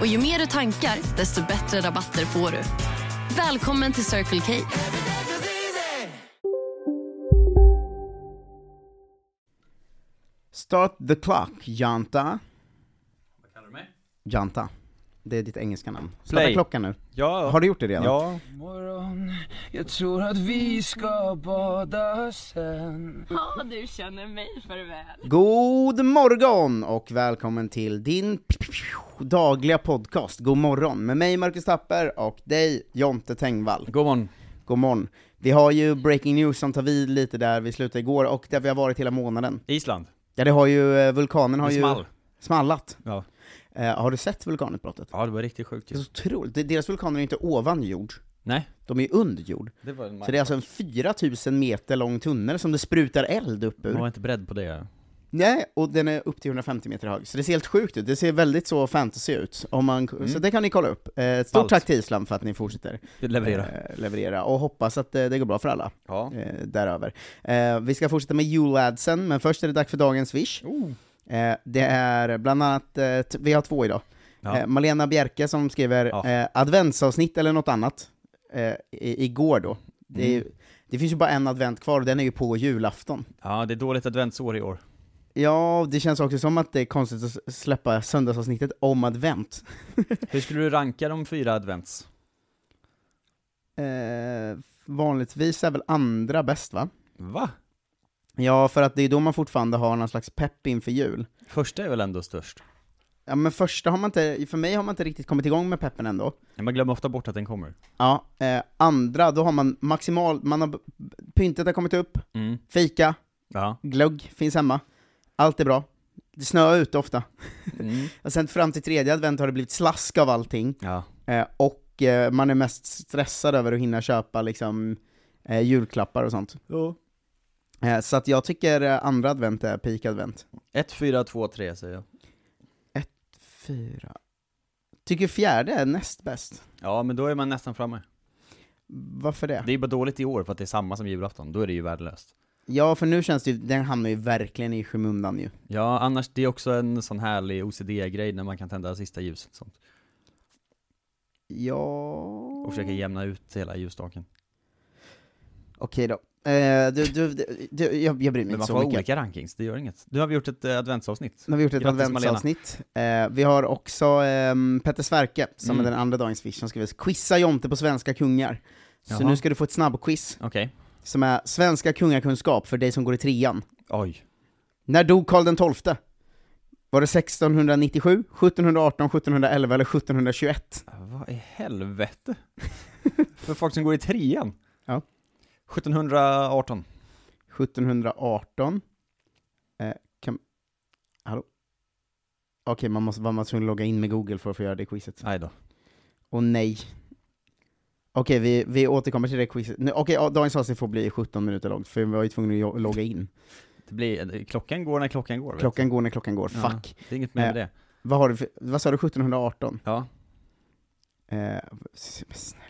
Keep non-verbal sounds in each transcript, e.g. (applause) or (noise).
Och ju mer du tankar, desto bättre rabatter får du. Välkommen till Circle K. Start the clock, Janta. Vad kallar du mig? Janta. Det är ditt engelska namn. Starta Play. klockan nu. Ja. Har du gjort det redan? Ja. Morgon, jag tror att vi ska bada sen Ja, du känner mig för väl. God morgon och välkommen till din dagliga podcast God morgon med mig Marcus Tapper och dig Jonte Tengvall. God morgon. God morgon. Vi har ju breaking news som tar vid lite där vi slutade igår och där vi har varit hela månaden. Island. Ja, det har ju, eh, vulkanen har Det ju small. smallat. Ja. Eh, har du sett vulkanutbrottet? ja, det var riktigt sjukt Det är ju. så otroligt. De- Deras vulkaner är inte ovan jord, Nej. de är under jord. Det var en Så det är alltså en 4000 meter lång tunnel som det sprutar eld upp Man ur. var inte beredd på det. Nej, och den är upp till 150 meter hög, så det ser helt sjukt ut. Det ser väldigt så fantasy ut. Om man, Så det kan ni kolla upp. Eh, stort Mm. Ballt. tack till Island för att ni fortsätter Leverera. eh, leverera, och hoppas att eh, det går bra för alla. Ja. eh, däröver. Eh, vi ska fortsätta med juladsen, men först är det dags för dagens Swish. Eh, det är bland annat, eh, t- vi har två idag. Ja. Eh, Malena Bjerke som skriver Ja. eh, adventsavsnitt eller något annat, eh, i, igår då. Det, är, Mm. ju- det finns ju bara en advent kvar och den är ju på julafton. ja, det är dåligt adventsår i år. Ja, det känns också som att det är konstigt att s- släppa söndagsavsnittet om advent. Hur skulle du ranka de fyra advents? Eh, vanligtvis är väl andra bäst va? Va? Ja, för att det är då man fortfarande har någon slags pepp inför jul. Första är väl ändå störst? Ja men första har man inte, för mig har man inte riktigt kommit igång med peppen ändå. Nej, Man glömmer ofta bort att den kommer. Ja, eh, andra, då har man maximal, man har, pyntet har kommit upp, Mm. fika, Ja. glögg finns hemma, allt är bra. Det snöar ute ofta. Mm. Och sen fram till tredje advent har det blivit slask av allting, Ja. eh, och eh, man är mest stressad över att hinna köpa liksom eh, julklappar och sånt. Eh, så att jag tycker eh, andra advent är peak advent. Ett, fyra, två, tre säger jag. Fyra. Tycker fjärde är näst bäst. Ja, men då är man nästan framme. Varför det? Det är bara dåligt i år för att det är samma som julafton, då är det ju värdelöst. Ja, för nu känns det ju, den hamnar ju verkligen i skymundan ju. Ja, annars, det är också en sån härlig OCD-grej när man kan tända sista ljuset och sånt. Ja... Och försöka jämna ut hela ljusstaken. Okej då. Eh, du, du, du, du, jag, jag bryr mig Men inte man så får ha mycket. olika rankings, det gör inget. Nu har vi gjort ett eh, adventsavsnitt. Nu har vi gjort ett Grattis, adventsavsnitt. Eh, vi har också ehm, Petter Sverke, som Mm. är den andra dagens fish, som skriver 'Quizza Jonte på svenska kungar' Så Jaha. nu ska du få ett snabbquiz, Okej. som är svenska kungakunskap för dig som går i trean. Oj. När dog Karl den XII? Var det 1697, 1718, 1711 eller 1721? Vad i helvete? (laughs) För folk som går i trean? Ja. 1718. 1718. Eh, kan... Hallå? Okej, man måste vara tvungen att logga in med Google för att få göra det quizet. Nej då. Och nej. Okej, vi, vi återkommer till det quizet. Nu- Okej, ja, dagens avsnitt får bli 17 minuter långt, för vi var ju tvungna att jo- logga in. Det blir, eh, klockan går när klockan går. vet Klockan går när klockan går, du. Ja, fuck. Det är inget mer med det. Vad, har du för, vad sa du, 1718? Ja. Eh, s- men snälla.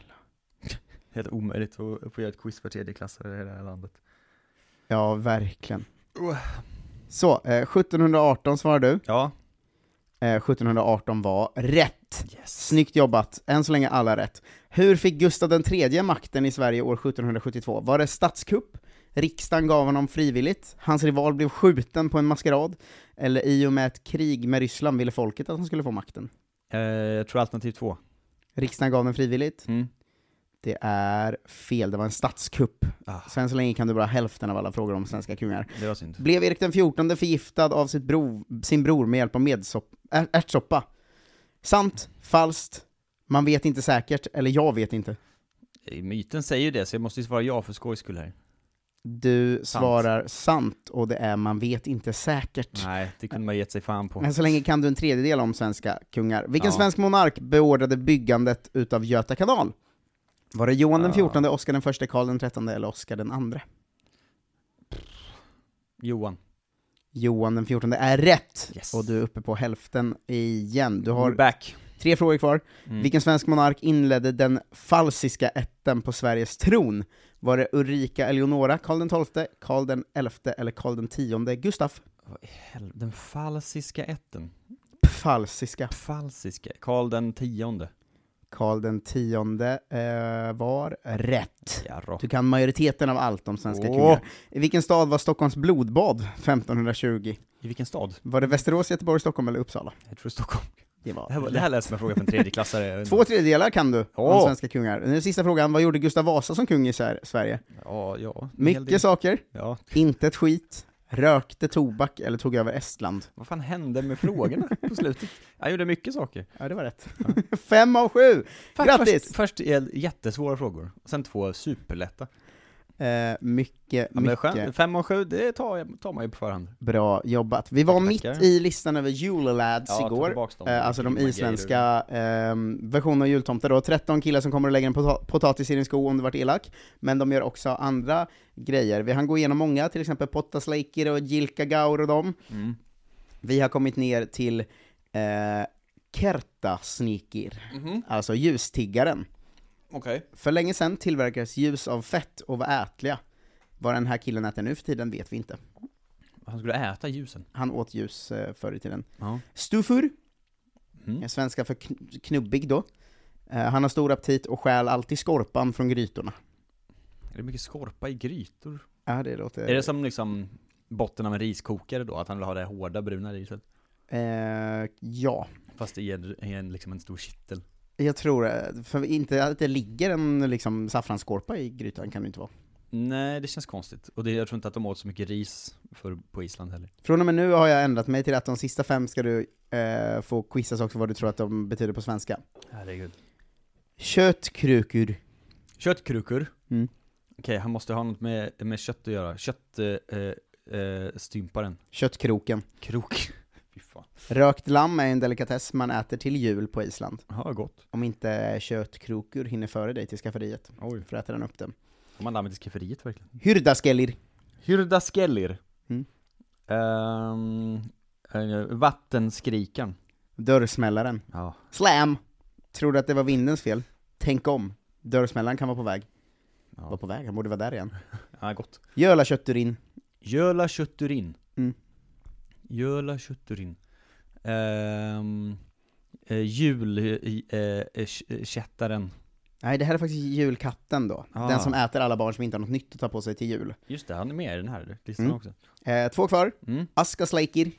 Helt omöjligt att få göra ett quiz för tredjeklassare i det här landet. Ja, verkligen. Uh. Så, eh, 1718 svarar du. Ja. Eh, 1718 var rätt. Yes. Snyggt jobbat, än så länge alla rätt. Hur fick Gustav III makten i Sverige år 1772? Var det statskupp? Riksdagen gav honom frivilligt, hans rival blev skjuten på en maskerad, eller i och med ett krig med Ryssland ville folket att han skulle få makten? Eh, jag tror alternativ två. Riksdagen gav den frivilligt. Mm. Det är fel, det var en statskupp. Ah. Så än så länge kan du bara hälften av alla frågor om svenska kungar. Det var synd. Blev Erik den XIV förgiftad av sitt bro, sin bror med hjälp av medsopp, är- ärtsoppa? Sant? Falskt? Man vet inte säkert, eller jag vet inte. Eh, Myten säger ju det, så jag måste ju svara ja för skojs skull här. Du svarar sant, och det är man vet inte säkert. Nej, det kunde man gett sig fan på. Men så länge kan du en tredjedel om svenska kungar. Vilken Ja. svensk monark beordrade byggandet utav Göta kanal? Var det Johan den Ja. fjortonde, Oscar den förste, Karl den trettonde eller Oscar den andre? Johan. Johan den fjortonde är rätt! Yes. Och du är uppe på hälften igen. Du har We're back. tre frågor kvar. Mm. Vilken svensk monark inledde den falsiska ätten på Sveriges tron? Var det Ulrika Eleonora, Karl den tolfte, Karl den elfte eller Karl den tionde? Gustaf? Mm. Vad i hel- Den falsiska ätten. Falsiska. Falsiska. Karl den tionde. Karl den tionde eh, var rätt. Jarrå. Du kan majoriteten av allt om svenska Åh. kungar. I vilken stad var Stockholms blodbad 1520? I vilken stad? Var det Västerås, Göteborg, Stockholm eller Uppsala? Jag tror Stockholm. Det var Det här, var- det här lät som en fråga för en tredjeklassare. (laughs) Två tredjedelar kan du om Åh. svenska kungar. Nu är sista frågan, vad gjorde Gustav Vasa som kung i Sär- Sverige? Ja, ja. en hel del. Mycket saker, Ja. inte ett skit, rökte tobak eller tog över Estland. Vad fan hände med frågorna på slutet? Jag gjorde mycket saker. Ja, det var rätt. (laughs) Fem av sju! Fan, Grattis! Först, först är jättesvåra frågor, och sen två superlätta. Eh, mycket, Ja, men det är mycket skönt. Fem och sju, det tar, jag- tar man ju på förhand. bra jobbat. Vi var Tackar, mitt tackar. i listan över julelads Ja, ta igår. tillbaks dem. Eh, alltså de Vilka isländska eh, versionerna av jultomte då. 13 killar som kommer och lägger en pota- potatis i din sko om du varit elak. Men de gör också andra grejer. Vi hann gå igenom många, till exempel Potasleikir och Jilkagaur och dem. Mm. Vi har kommit ner till eh, Kertasnikir, alltså ljustiggaren. Okej. För länge sedan tillverkades ljus av fett och var ätliga. Vad den här killen äter nu för tiden vet vi inte. Han skulle äta ljusen. Han åt ljus eh, förr i tiden. Ja. Stufur, Mm. är svenska för kn- knubbig då. Eh, han har stor aptit och stjäl alltid skorpan från grytorna. Är det mycket skorpa i grytor? Ja, det låter... Är det som liksom botten av en riskokare då, att han vill ha det hårda bruna riset? Eh, ja, Fast i en, i en, liksom en stor kittel. jag tror eh, För inte att det ligger en liksom, saffransskorpa i grytan kan det inte vara. Nej, det känns konstigt. Och det, jag tror inte att de åt så mycket ris för, på Island heller. Från och med nu har jag ändrat mig till att de sista fem ska du eh, få quizas också vad du tror att de betyder på svenska. Herregud. Köttkrukor. Köttkrukor. Mm. Okej, han måste ha något med, med kött att göra. Kött... Eh, eh, stymparen. Köttkroken. Krok. (laughs) Fy fan. Rökt lamm är en delikatess man äter till jul på Island. Ja, gott. Om inte köttkrokor hinner före dig till skafferiet, Oj. för äter den upp dem. Får man dammet i skafferiet verkligen? Hyrdaskellir. Hyrdaskellir. Mm. Ehm, eh, vattenskrikan. Dörrsmällaren. Ja. Slam! Trodde att det var vindens fel. Tänk om. Dörrsmällaren kan vara på väg. Ja. Var på väg, han borde vara där igen. ja, gott. Gölakötturin. Jöla kötturin. Mm. Jöla kötturin. Um, uh, eh, Julkättaren. Nej, det här är faktiskt julkatten då. Ah. Den som äter alla barn som inte har något nytt att ta på sig till jul. Just det, han är med i den här listan Mm. också. Eh, två kvar. Mm. Askasleikir.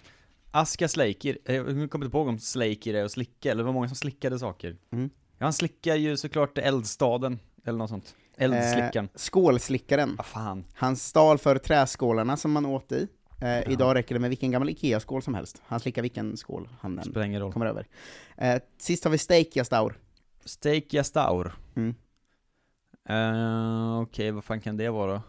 Aska Sleikir. Eh, Jag kommer inte ihåg om Sleikir är och slicka, eller det var många som slickade saker. Mm. Ja, han slickar ju såklart eldstaden, eller något sånt. Eldslickaren. Eh, skålslickaren. Ah, fan. Han stal för träskålarna som man åt i. Eh, Idag räcker det med vilken gammal IKEA-skål som helst. Han slickar vilken skål han än Spelar ingen roll. kommer över. Eh, sist har vi Steikjastaur. Steak Jastaur. Mm. Eh, Okej, vad fan kan det vara?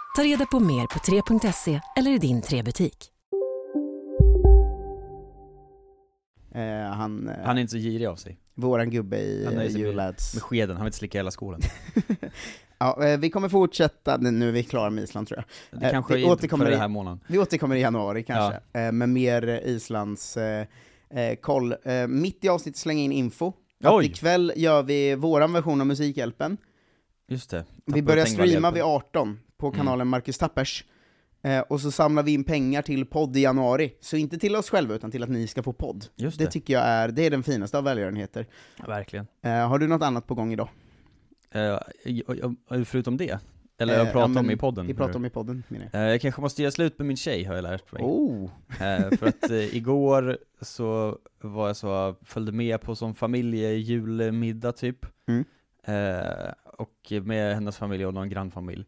Ta reda på mer på 3.se eller i din 3-butik. Eh, han, eh, Han är inte så girig av sig. våran gubbe i Han är eh, som i- Julads. Med skeden, han vill inte slicka hela skålen. Ja, eh, vi kommer fortsätta, nu är vi klara med Island tror jag. Det Eh, kanske vi inte återkommer för i- den här månaden. Vi återkommer i januari kanske, eh, med mer eh, Islands eh, eh, koll. Eh, mitt i avsnittet slänger in info. Att Oj. ikväll gör vi våran version av Musikhjälpen. Just det. vi börjar Tappade streama Tengvall vid 18 på Mm. kanalen Marcus Tappers. Eh, och så samlar vi in pengar till podd i januari. Så inte till oss själva, utan till att ni ska få podd. Just Det det. tycker jag är, det är den finaste av välgörenheter. hjälpen. Verkligen. Eh, har du något annat på gång idag? Eh, jag- jag- Förutom det? Eller Eh, jag pratar ja, men om i podden? Vi pratar om i podden, menar jag. Eh, Jag kanske måste göra slut med min tjej har jag lärt mig. Oh! Eh, (laughs) För att eh, igår så var jag så, följde med på som familjejulmiddag typ. Mm. Eh, och med hennes familj och någon grannfamilj.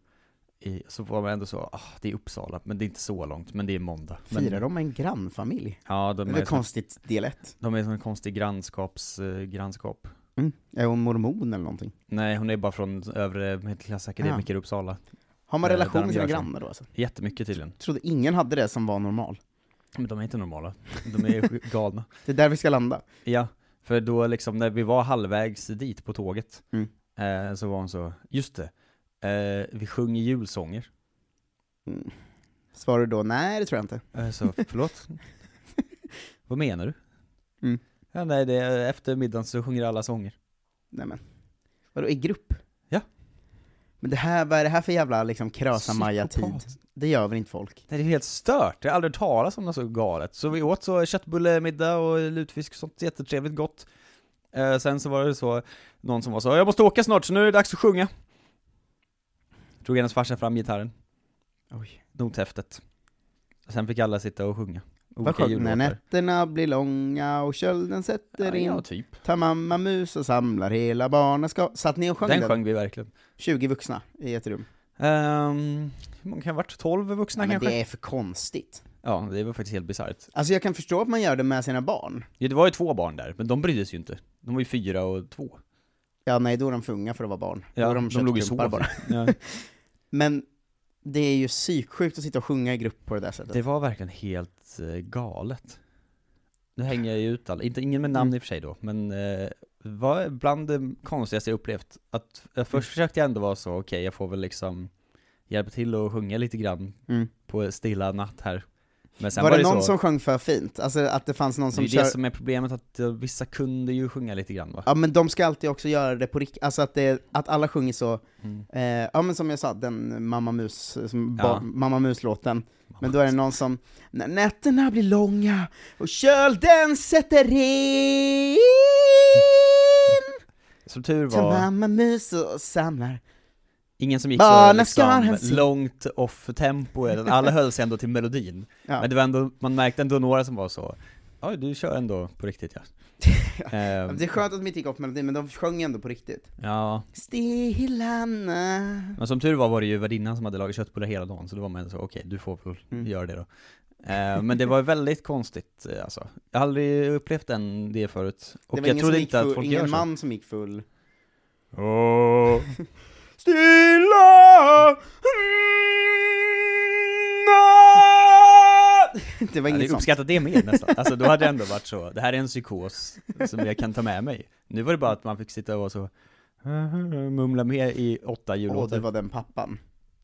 I, så var man ändå så, ah, det är Uppsala, men det är inte så långt, men det är måndag. Men- Firar de med en grannfamilj? Ja, de Det är är, väl som, konstigt, del ett. de är som en konstig grannskaps, eh, grannskap. Mm. Är hon mormon eller någonting? Nej, hon är bara från övre medelklassakademiker i Uppsala. Har man Eh, relation där de med sina gör så. grannar då alltså? Jättemycket tydligen. trodde ingen hade det som var normal. Men de är inte normala, (laughs) de är sj- galna. Det är där vi ska landa. Ja, för då liksom när vi var halvvägs dit på tåget Mm. eh, så var hon så, just det, eh, vi sjunger julsånger. Mm. Svarar du då nej, det tror jag inte. Eh, så, (laughs) förlåt? Vad menar du? Mm. Ja, nej, det är, efter middagen så sjunger alla sånger. Nej men. Vadå, i grupp? Ja. Men det här, vad är det här för jävla liksom krösa-maja-tid? Psykopat. Det gör väl inte folk? Nej, Det är helt stört, jag har aldrig hört talas om något så galet. Så vi åt så köttbullemiddag och lutfisk och sånt jättetrevligt gott. Eh, sen så var det så, någon som var så 'Jag måste åka snart så nu är det dags att sjunga' Drog hennes farsa fram gitarren, Oj. nothäftet. Sen fick alla sitta och sjunga. Vad Olika skönt, när jullåtar. nätterna blir långa och kölden sätter Ja, in. ja, typ. Ta mamma mus och samlar hela barnaskap. Satt ni och sjöng den? Den sjöng vi verkligen. 20 vuxna i ett rum. Ehm, hur många kan det ha varit? 12 vuxna Nej, men kanske? det är för konstigt. Ja, det var faktiskt helt bisarrt. Alltså jag kan förstå att man gör det med sina barn. Ja, det var ju två barn där, men de brydde sig ju inte. De var ju fyra och två. Ja, nej då är de för unga för att vara barn. då Ja, är de, de låg ju så. köttklumpar bara. Ja, Men det är ju psyksjukt att sitta och sjunga i grupp på det där sättet. det var verkligen helt eh, galet. Nu hänger jag ju ut alla, inte, ingen med namn Mm. i och för sig då, men eh, var bland det konstigaste jag upplevt. Att, jag först försökte jag ändå vara så, okej jag får väl liksom hjälpa till och sjunga lite grann Mm. på stilla natt här. Men sen var, det någon så, som sjöng för fint? Alltså att det fanns någon Det är som ju kör... det som är problemet, att eh, vissa kunde ju sjunga lite grann va? Ja men de ska alltid också göra det på riktigt, alltså att, det, att alla sjunger så, Mm. eh, ja men som jag sa, den Mamma Mus, som Ja. ba, Mamma Mus-låten, men då är det någon som, när nätterna blir långa och kölden sätter in, Som tur tar var, Mamma Mus och samlar ingen som gick så Barnen ska liksom hem sent. långt off tempo, (laughs) utan alla höll sig ändå till melodin. Ja. Men det var ändå, man märkte ändå några som var så, ja du kör ändå (laughs) på riktigt ja. Ehm, Det är skönt att de inte gick off melodin, men de sjöng ändå på riktigt. ja, Stilla natt. men som tur var var det ju värdinnan som hade lagat köttbullar hela dagen, så då var man så, okej du får väl Mm. göra det då. Ehm, men det var väldigt konstigt eh, alltså. Jag har aldrig upplevt den, det förut. Och Det var jag ingen, som trodde gick inte att full, folk gör ingen så. man som gick full. (laughs) Stilla natt Det var Jag inget hade sånt. uppskattat det mer nästan, alltså då hade jag ändå varit så, det här är en psykos som jag kan ta med mig Nu var det bara att man fick sitta och vara så mumla med i åtta Åh, jullåtar det var den pappan.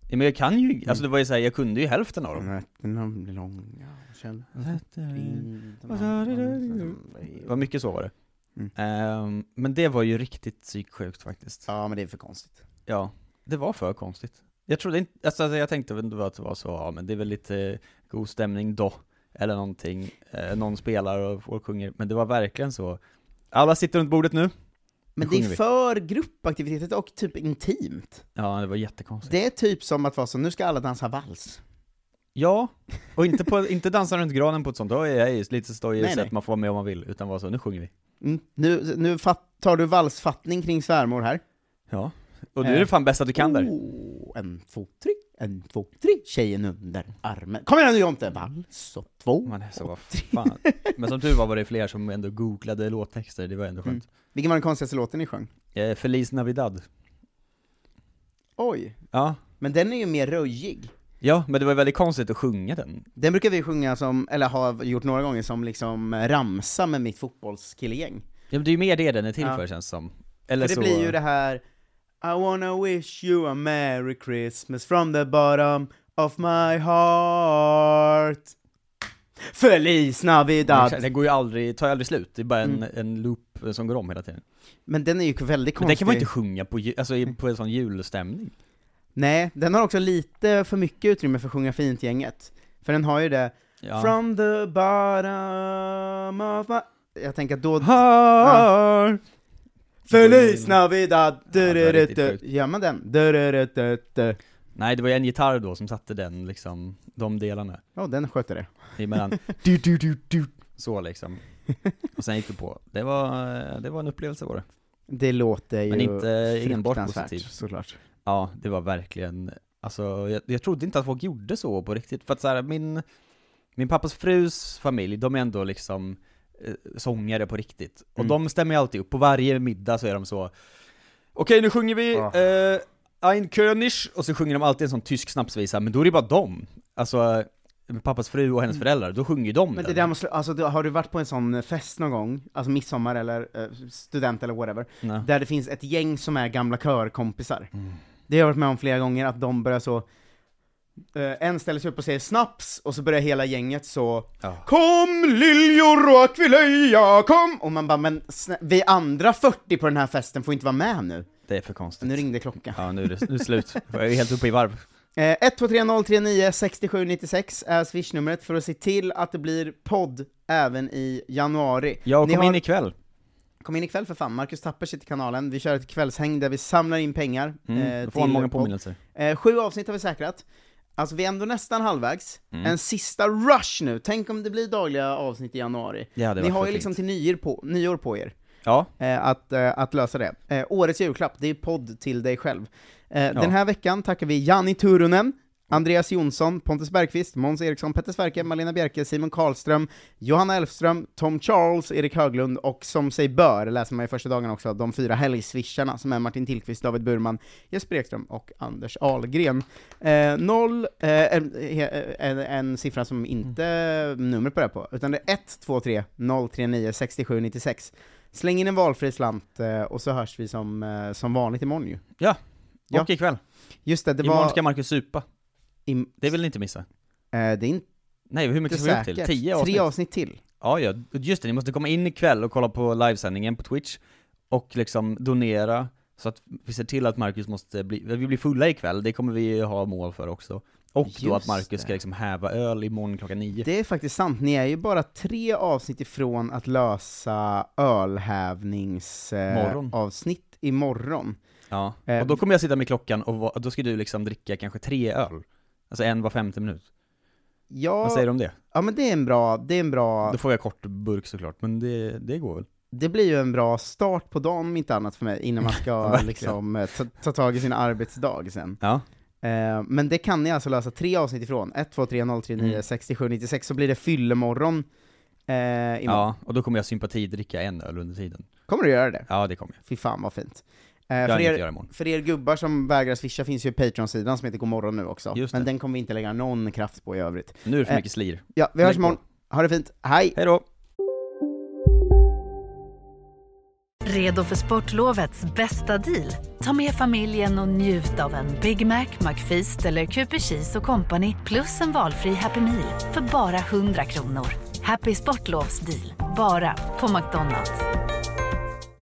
ja, Men jag kan ju, alltså det var ju såhär, jag kunde ju hälften av dem Nätterna blir långa och känn- Det var mycket så var det Mm. Ehm, Men det var ju riktigt psyksjukt faktiskt Ja men det är för konstigt. Ja, det var för konstigt. Jag trodde inte, alltså alltså, jag tänkte väl ändå att det var så, ja men det är väl lite god stämning då, eller någonting, eh, någon spelar och folk sjunger, men det var verkligen så, alla sitter runt bordet nu, Men Nu det är sjunger vi. för gruppaktiviteter och typ intimt. Ja, det var jättekonstigt. Det är typ som att vara så, nu ska alla dansa vals. Ja, och inte, på, inte dansa runt granen på ett sånt, då är jag ju lite Nej, stojig så nej. att man får vara med om man vill, utan vara så, nu sjunger vi. Mm. Nu, nu fatt, tar du valsfattning kring svärmor här. Ja. Eh. Och nu är det fan bäst att du kan där. Oh, en, två, tre, en, två, tre. Tjejen under armen. Kom igen nu Jonte! Vals och två. Man Mm. är så, (laughs) vad fan. Men som tur var var det fler som ändå googlade låttexter, det var ändå skönt. Vilken var den konstigaste låten ni sjöng? Eh, Feliz Navidad. Oj. Ja. Men den är ju mer röjig. Ja, men det var väldigt konstigt att sjunga den. Den brukar vi sjunga som, eller har gjort några gånger, som liksom ramsa med mitt fotbollskillegäng. Ja, men det är ju mer det den är till Ja. för känns som. Eller För det så... blir ju det här I wanna wish you a merry Christmas from the bottom of my heart Feliz Den Navidad! går ju aldrig, tar ju aldrig slut, det är bara en, en loop som går om hela tiden. Men den är ju väldigt Men den konstig. kan man ju inte sjunga på, ju- alltså, i- på en sån julstämning. Nej, den har också lite för mycket utrymme för att sjunga fint-gänget. För den har ju det Ja. From the bottom of my... Jag tänker att då... Har- Feliz Navidad! det var riktigt Du-du-du-du. sjukt. Gör man den? Du-du-du-du-du. Nej, det var ju en gitarr då som satte den, liksom, de delarna. Ja, den sköter det. Emellan, (laughs) du, du, du, du, så liksom. Och sen gick det på. Det var, det var en upplevelse var det. Det låter ju Men inte enbart fruktansvärt, positivt. såklart. Ja, det var verkligen, alltså jag, jag trodde inte att folk gjorde så på riktigt, för att så här, min, min pappas frus familj, de är ändå liksom eh, sångare på riktigt. Och Mm. de stämmer ju alltid upp, på varje middag så är de så Okej nu sjunger vi Ah. eh, Ein König, och så sjunger de alltid en sån tysk snapsvisa, men då är det bara dem. Alltså, eh, pappas fru och hennes föräldrar, då sjunger ju de Mm. Men det den. där måste, alltså, du- har du varit på en sån eh, fest någon gång, alltså midsommar eller eh, student eller whatever, Nej. Mm. där det finns ett gäng som är gamla körkompisar? Det har jag varit med om flera gånger, att de börjar så, eh, en ställer sig upp och säger snaps, och så börjar hela gänget så Ja. Kom liljor och akvileja, kom! Och man bara, men snä- vi andra 40 på den här festen får inte vara med nu. Det är för konstigt. Nu ringde klockan. Ja, nu är det, nu är det slut. Jag är helt uppe i varv. Eh, 1230396796 är swishnumret för att se till att det blir podd även i januari. Jag Ni kom har- in ikväll. Kom in ikväll för fan, Marcus Tapper sitter i kanalen, vi kör ett kvällshäng där vi samlar in pengar. Mm, eh, då får man till många podd. påminnelser. Eh, sju avsnitt har vi säkrat. Alltså vi är ändå nästan halvvägs. Mm. En sista rush nu, tänk om det blir dagliga avsnitt i januari. Ja, det Ni hade varit har för ju liksom fint. till nyår på, nyår på er Ja, eh, att, eh, att lösa det. Eh, årets julklapp, det är podd till dig själv. Eh, Den här veckan tackar vi Jani Turunen, Andreas Jonsson, Pontus Bergqvist, Måns Eriksson, Petter Sverke, Malena Bjerke, Simon Karlström, Johanna Elfström, Tom Charles, Erik Höglund och som sig bör, läser man i första dagen också, de fyra helgswisharna som är Martin Tillqvist, David Burman, Jesper Ekström och Anders Ahlgren. Eh, noll, eh, en, en, en siffra som inte numret börjar på, utan det är 123 039 6796. Släng in en valfri slant eh, och så hörs vi som, eh, som vanligt imorgon ju. ja. Ja. Och ikväll. Just det, det var... Imorgon ska Marcus supa. im- Det vill ni inte missa. eh, det är inte Nej, hur mycket ska vi upp till? säkert. 10 avsnitt? Tre avsnitt till. Ja, ja. Just det, ni måste komma in ikväll och kolla på livesändningen på Twitch och liksom donera så att vi ser till att Marcus måste bli, vi blir fulla ikväll, det kommer vi ha mål för också. Och då att Just Marcus ska det. liksom häva öl imorgon klockan nio. Det är faktiskt sant, ni är ju bara tre avsnitt ifrån att lösa ölhävningsavsnitt Morgon. eh, avsnitt imorgon. Ja. Eh, Och då kommer jag sitta med klockan och va- då ska du liksom dricka kanske tre öl. Alltså en var femte minut. Vad Ja, säger du om det? ja men det är en bra, det är en bra, Då får jag kort burk såklart, men det, det går väl? det blir ju en bra start på dagen om inte annat för mig, innan man ska (laughs) Verkligen. liksom eh, ta, ta tag i sin arbetsdag sen. Ja. Eh, men det kan ni alltså lösa tre avsnitt ifrån, 1, 2, 3, 0, 3, 9, Mm. 67, 96, så blir det fyllemorgon eh, imorgon. Ja, och då kommer jag sympatidricka en öl under tiden. Kommer du göra det? Ja, det kommer jag. Fy fan vad fint. Eh, Jag har för, inget att er, göra imorgon. för er gubbar som vägrar swisha finns ju Patreon-sidan som heter Godmorgon nu också, Just men det. den kommer vi inte lägga någon kraft på i övrigt. Nu är det för Eh, mycket slir. Ja, vi Lägg hörs på. imorgon, ha det fint, hej! Hej då! Redo för sportlovets bästa deal? Ta med familjen och njut av en Big Mac, McFeast eller Cooper Cheese och Company plus en valfri Happy Meal för bara 100 kronor. Happy Sportlovs deal, bara på McDonalds.